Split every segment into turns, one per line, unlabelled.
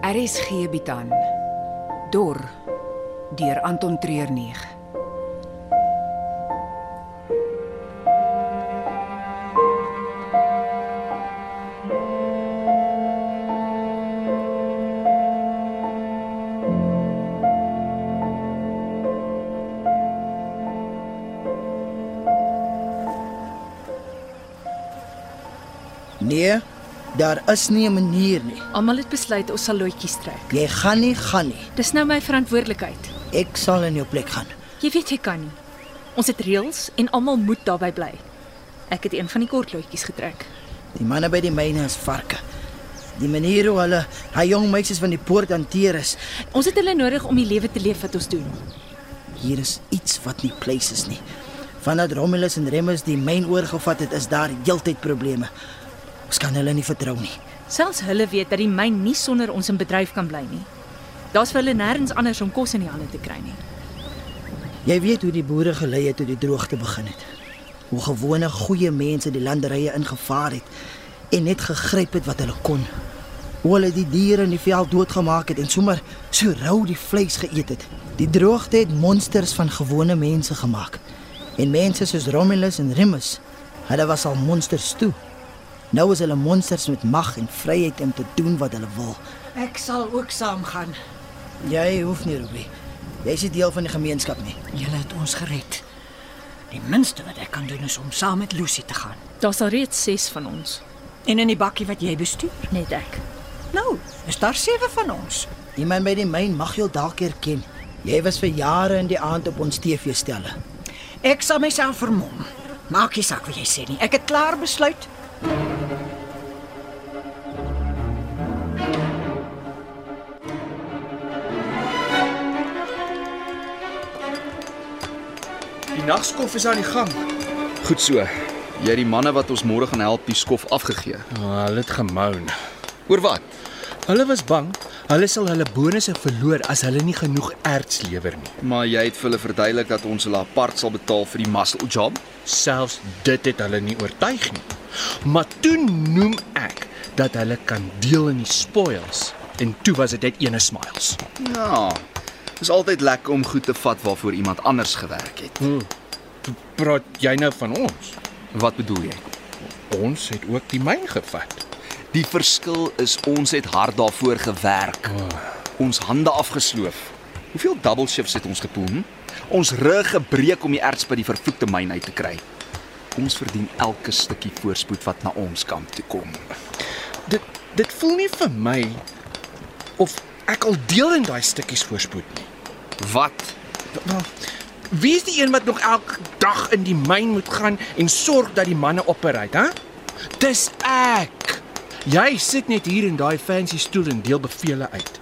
RSG bied aan Dor deur Anton Treuer 9.
Nee, daar is nie 'n manier nie.
Almal het besluit ons sal loetjies trek.
Jy gaan nie gaan nie.
Dis nou my verantwoordelikheid.
Ek sal in jou plek gaan.
Jy weet jy kan nie. Ons het reëls en almal moet daarby bly. Ek het een van die kort loetjies getrek.
Die manne by die myne is varke. Die manier hoe hulle hy jong meisies van die poort hanteer is,
Ons het hulle nodig om die lewe te leef wat ons doen.
hier is iets wat nie pleis is nie. Vandat Romulus en Remus die myn oorgevat het, is daar heeltyd probleme. Ons kan hulle nie vertrou nie.
Selfs hulle weet dat die myn nie sonder ons in bedryf kan bly nie. Daar's vir hulle nêrens anders om kos in die hande te kry nie.
Jy weet hoe die boere gelei het toe die droogte begin het. Hoe gewone goeie mense die landerye ingevaar het en net gegryp het wat hulle kon. Hoe hulle die diere in die veld doodgemaak het en sommer so rou die vleis geëet het. Die droogte het monsters van gewone mense gemaak. En mense soos Romulus en Remus, hulle was al monsters toe. Nou is hulle monsters met mag en vryheid om te doen wat hulle wil.
Ek sal ook saamgaan.
Jy hoef nie, Ruby. Jy's nie deel van die gemeenskap nie.
Julle het ons gered. Die minste wat ek kan doen is om saam met Lucy te gaan.
Daar's al reeds 6 van ons,
En in die bakkie wat jy bestuur.
net ek.
Nou, is daar sewe van ons.
Die man by die myn mag jou dalk herken. Jy was vir jare in die aand op ons TV-stelle.
Ek sal myself vermom. Maak nie saak wat jy sê nie. Ek het klaar besluit.
Die nagskof is aan die gang.
Goed so. Jy het die manne wat ons môre gaan help die skof afgegee.
Oh, hulle het gemoun.
Oor wat?
Hulle was bang hulle sal hulle bonusse verloor as hulle nie genoeg erts lewer nie.
Maar jy het vir hulle verduidelik dat ons hulle apart sal betaal vir die muscle job.
Selfs dit het hulle nie oortuig nie. Maar toe noem ek dat hulle kan deel in die spoils en toe was dit net ene smiles.
Ja. Dis altyd lekker om goed te vat waarvoor iemand anders gewerk het.
Toe praat jy nou van ons.
Wat bedoel jy?
Ons het ook die myn gevat.
Die verskil is ons het hard daarvoor gewerk. Ons hande afgesloof. Hoeveel double shifts het ons gepoel? Hm? Ons rug gebreek om die erts by die vervloekte myn uit te kry. Ons verdien elke stukkie voorspoed wat na ons kant toe kom.
Dit dit voel nie vir my of ek al deel in daai stukkies voorspoed nie.
Wat?
Wel, Wie is die een wat nog elke dag in die myn moet gaan en sorg dat die manne operate, hè? Dis ek. Jy sit net hier in daai fancy stoel en deel bevele uit.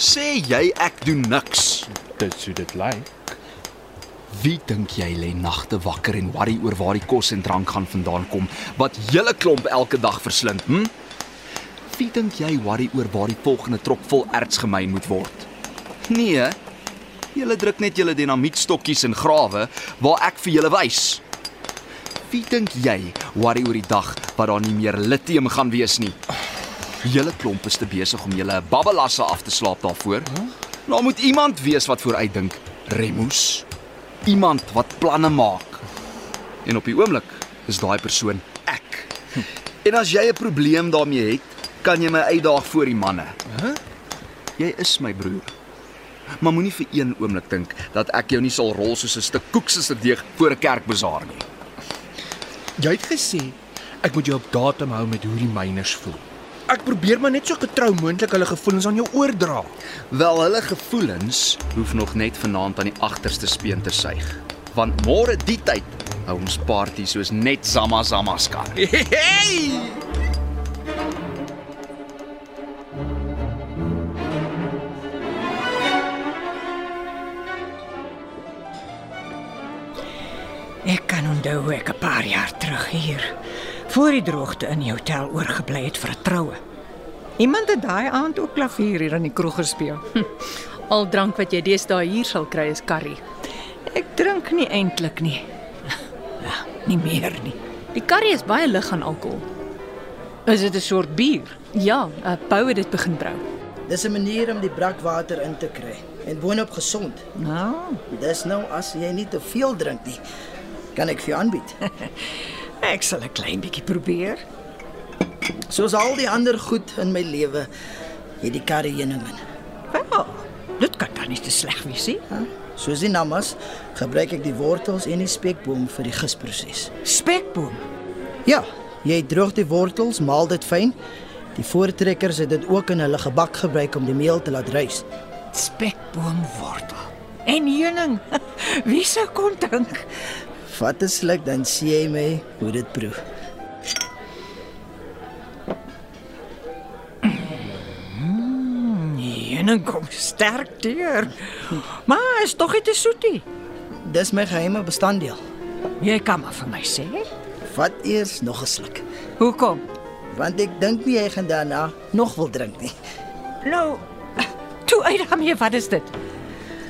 Sê jy ek doen niks?
Dit sou dit lyk.
Wie dink jy lê nagte wakker en worry oor waar die kos en drank gaan vandaan kom wat hele klomp elke dag verslind, hm? Wie dink jy worry oor waar die volgende trok vol erts gemyn moet word? Nee. Julle druk net julle dinamietstokkies in grawe waar ek vir julle wys. Wie dink jy worry oor die dag wat daar nie meer lithium gaan wees nie? Julle klomp is te besig om julle babbelasse af te slaap daarvoor. Nou moet iemand wees wat vooruit dink. Remus iemand wat planne maak. En op die oomblik is daai persoon ek. En as jy 'n probleem daarmee het, kan jy my uitdaag voor die manne. Hæ? Jy is my broer. Maar moenie vir een oomblik dink dat ek jou nie sal rol soos 'n stuk koeksese deeg voor 'n kerkbazaar nie.
Jy het gesê ek moet jou op datum hou met hoe die myners voel. Ek probeer maar net so getrou moontlik hulle gevoelens aan jou oordra.
Wel, hulle gevoelens hoef nog net vanaand aan die agterste speen te suig, want môre die tyd hou ons party soos net Zama Zama skat.
Hey!
Ek kan onthou hoe ek 'n paar jaar terug hier voor die droogte in die hotel oorgebly het vir 'n troue. Iemand het daai aand ook klavier hier in die kroeg gespeel.
Al drank wat jy deesdae hier sal kry is curry.
Ek drink nie eintlik nie. Ja, nie meer nie.
Die curry is baie lig aan alkohol.
Is dit 'n soort bier?
Ja, uh, Bou het dit begin brou.
Dis 'n manier om die brakwater in te kry en boonop gesond.
Nou,
Dis nou as jy nie te veel drink nie, kan ek vir jou aanbied.
ek sal 'n klein bietjie probeer.
Soos al die ander goed in my lewe, het die karre heuning in.
Wel, dit kan dan nie te sleg wees nie.
Soos die namas, gebruik ek die wortels en die spekboom vir die gisproses.
Spekboom.
Ja, jy droog die wortels, maal dit fyn. Die voortrekkers het dit ook in hulle gebak gebruik om die meel te laat rys.
Spekboomwortel. En heuning. Wie sou kon dink?
Vat 'n sluk dan sien jy my hoe dit proe.
Heuning kom sterk deur. Maar is tog nie te soetie.
Dis my geheime bestanddeel.
Jy kan maar vir my sê.
Vat eers nog 'n sluk,
Hoekom?
want ek dink nie jy gaan daarna nog wil drink nie.
Nou, toe uit daarmee, wat is dit?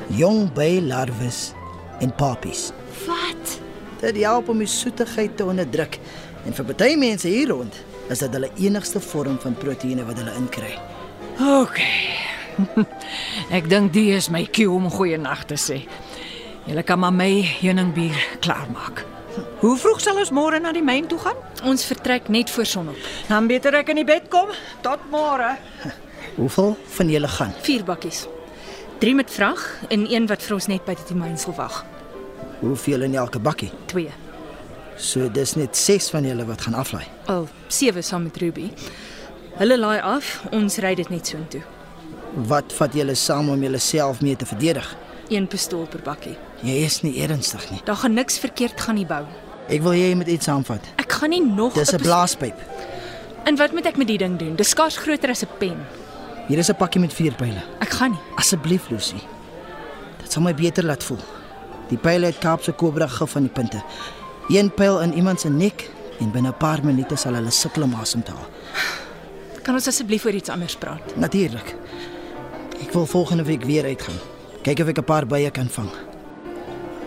Jong bylarwes en papies.
Wat?
Dit help om die soetigheid te onderdruk en vir baie mense hier rond is dit hulle enigste vorm van proteïene wat hulle inkry.
OK. Ek dink die is my cue om goeienaand te sê. Julle kan maar my heuningbier klaarmaak. Hoe vroeg sal ons môre na die myn toe gaan?
Ons vertrek net voor sonop.
Dan beter ek in die bed kom. Tot môre.
Hoeveel van julle gaan?
Vier bakkies. Drie met vrag en een wat vir ons net by die myn sal wag.
Hoeveel in elke bakkie?
Twee.
So dis net 6 van julle wat gaan aflaai.
Al sewe saam met Ruby. Hulle laai af, ons ry dit net soontoe.
Wat vat julle saam om julleself mee te verdedig?
Een pistool per bakkie.
Jy is nie ernstig nie.
Daar gaan niks verkeerd gaan nie bou.
Ek wil jy met iets saamvat.
Ek gaan nie nog
Dis 'n
pis-
blaaspyp.
En wat moet ek met die ding doen? Dis skaars groter as 'n pen.
Hier is 'n pakkie met vier pyle.
Ek gaan nie.
Asseblief, Lucy. Dit sal my beter laat voel. Die pyle het Kaapse kobra gif van die punte. Een pyl in iemand se nek en binne 'n paar minute sal hulle sukkel om asem te haal.
Kan ons asseblief oor iets anders praat?
Natuurlik. Ek wil volgende week weer uitgaan. Kyk of ek 'n paar bye kan vang.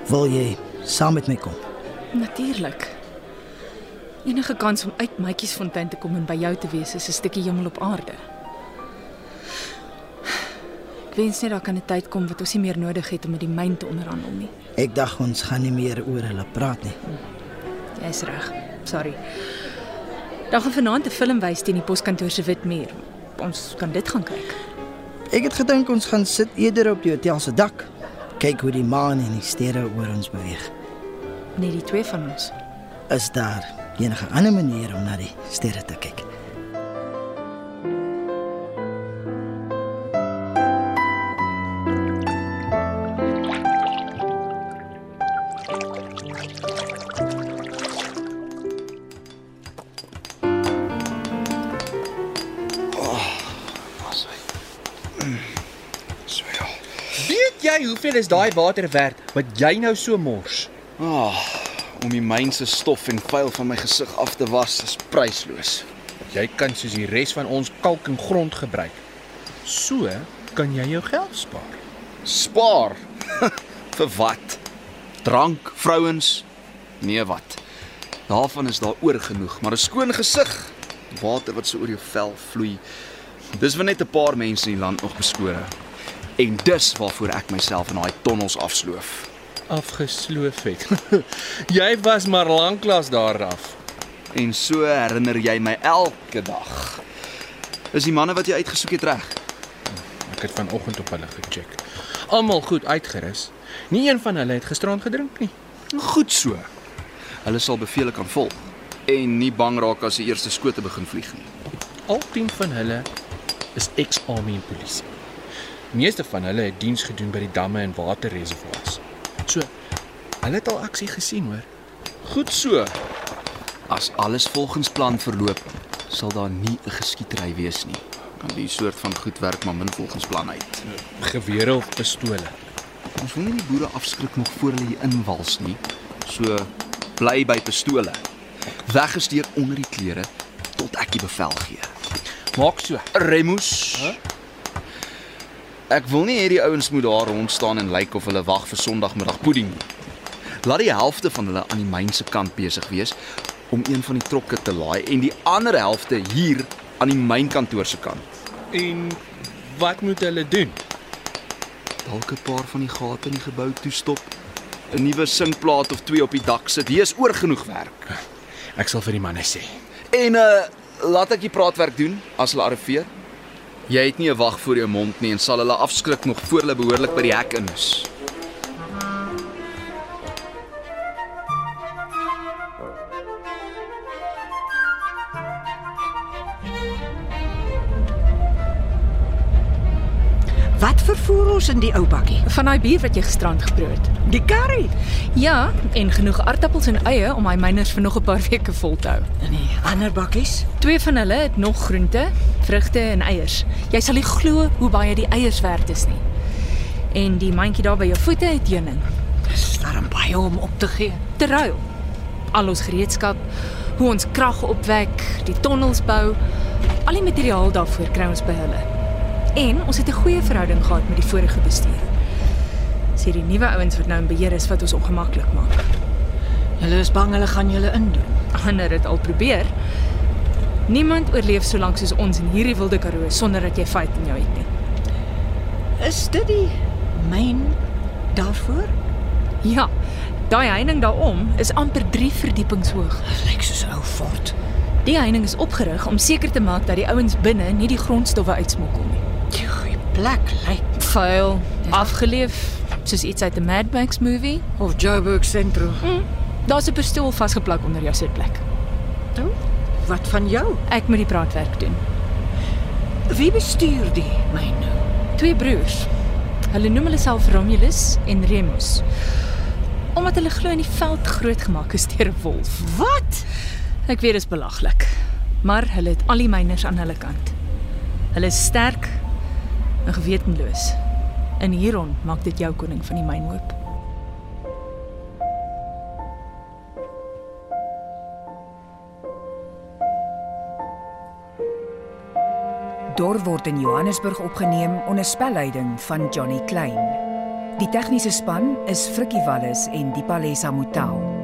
Wil jy saam met my kom?
Natuurlik. Enige kans om uit Matjiesfontein te kom en by jou te wees is 'n stukkie hemel op aarde. Ek wens net daar kan 'n tyd kom wat ons nie meer nodig het om met die myn te onderhandel nie.
Ek dag ons gaan nie meer oor hulle praat nie.
Jy's reg. Sorry. Daar gaan vanaand 'n film wys teen die poskantoor se wit muur. Ons kan dit gaan kyk.
Ek het gedink ons gaan sit eerder op die hotel se dak. Kyk hoe die maan en die sterre oor ons beweeg.
Net die twee van ons.
Is daar enige ander manier om na die sterre te kyk?
So ja.
Weet jy hoeveel is daai water werd wat jy nou so mors?
Ah, om die myn se stof en vuil van my gesig af te was is prysloos.
Jy kan soos die res van ons kalk en grond gebruik. So kan jy jou geld spaar.
Spaar. Vir wat? Drank, vrouens? Nee, wat? Daarvan is daar oor genoeg, maar 'n skoon gesig, water wat so oor jou vel vloei. Dis vir net 'n paar mense in die land nog beskore. En dis waarvoor ek myself in daai tonnels afsloof.
Afgesloof het. jy was maar lanklaas daar af.
En so herinner jy my elke dag. Is die manne wat jy uitgesoek het reg?
Ek het vanoggend op hulle gecheck. Almal goed uitgerus. Nie een van hulle het gisteraan gedrink nie.
Goed so. Hulle sal beveel kan volg en nie bang raak as die eerste skote begin vlieg nie.
Al 10 van hulle is ex-army en polisie. Meeste van hulle het diens gedoen by die damme en waterreservoirs. So, hulle het al aksie gesien hoor.
Goed so. As alles volgens plan verloop, sal daar nie 'n geskietery wees nie. Want die soort van goed werk maar min volgens plan uit.
Gewere of pistole.
Ons wil nie die boere afskrik nog voor hulle hier inwals nie. So bly by pistole. Weggesteek onder die klere tot ek die bevel gee.
Maak so.
Remus. Ek wil nie hê die ouens moet daar rond staan en lyk of hulle wag vir Sondagmiddagpudding nie. Laat die helfte van hulle aan die myn se kant besig wees om een van die trokke te laai en die ander helfte hier aan die mynkantoor se kant.
En Wat moet hulle doen?
Dalk 'n paar van die gate in die gebou toestop. 'n Nuwe sinkplaat of twee op die dak sit. Hier is oor genoeg werk.
Ek sal vir die manne sê.
En uh laat ek die praatwerk doen as hulle arriveer. Jy het nie 'n wag voor jou mond nie en sal hulle afskrik nog voor hulle behoorlik by die hek in is.
Wat vervoer ons in die ou bakkie?
Van daai bier wat jy gisterand geproe het.
Die curry.
Ja, en genoeg aardappels en eie om hy myners vir nog 'n paar weke vol te hou.
En die ander bakkies?
Twee van hulle het nog groente, vrugte en eiers. Jy sal nie glo hoe baie die eiers werd is nie. En die mandjie daar by jou voete het heuning.
Dis darm baie om op te gee.
Te ruil. Al ons gereedskap, hoe ons krag opwek, die tonnels bou, al die materiaal daarvoor kry ons by hulle. En ons het 'n goeie verhouding gehad met die vorige bestuur. Dis hierdie nuwe ouens wat nou in beheer is wat ons ongemaklik maak.
Hulle is bang hulle gaan julle indoen.
ander dit al probeer. Niemand oorleef so lank soos ons in hierdie wilde Karoo sonder dat jy vyf in jou het nie.
Is dit die myn daarvoor?
Ja. Daai heining daarom is amper 3 verdiepings hoog.
Dit lyk soos 'n ou fort.
Die heining is opgerig om seker te maak dat die ouens binne nie die grondstowwe uitsmokkel nie.
Die goeie plek lyk
Vuil, afgeleef, soos iets uit 'n Mad Max movie.
of Joburg sentrum.
Daar's 'n pistool vasgeplak onder jou sitplek.
Toe? Wat van jou?
Ek moet die praatwerk doen.
Wie bestuur die myn nou?
Twee broers. Hulle noem hulle self Romulus en Remus. Omdat hulle glo in die veld grootgemaak is deur 'n wolf.
Wat?
Ek weet dit is belaglik, maar hulle het al die myners aan hulle kant. Hulle is sterk en gewetenloos. In Huron maak dit jou koning van die mynhoop.
Dor word in Johannesburg opgeneem onder spelleiding van Johnny Klein. Die tegniese span is Frikkie Wallis en Dipalesa Motelo.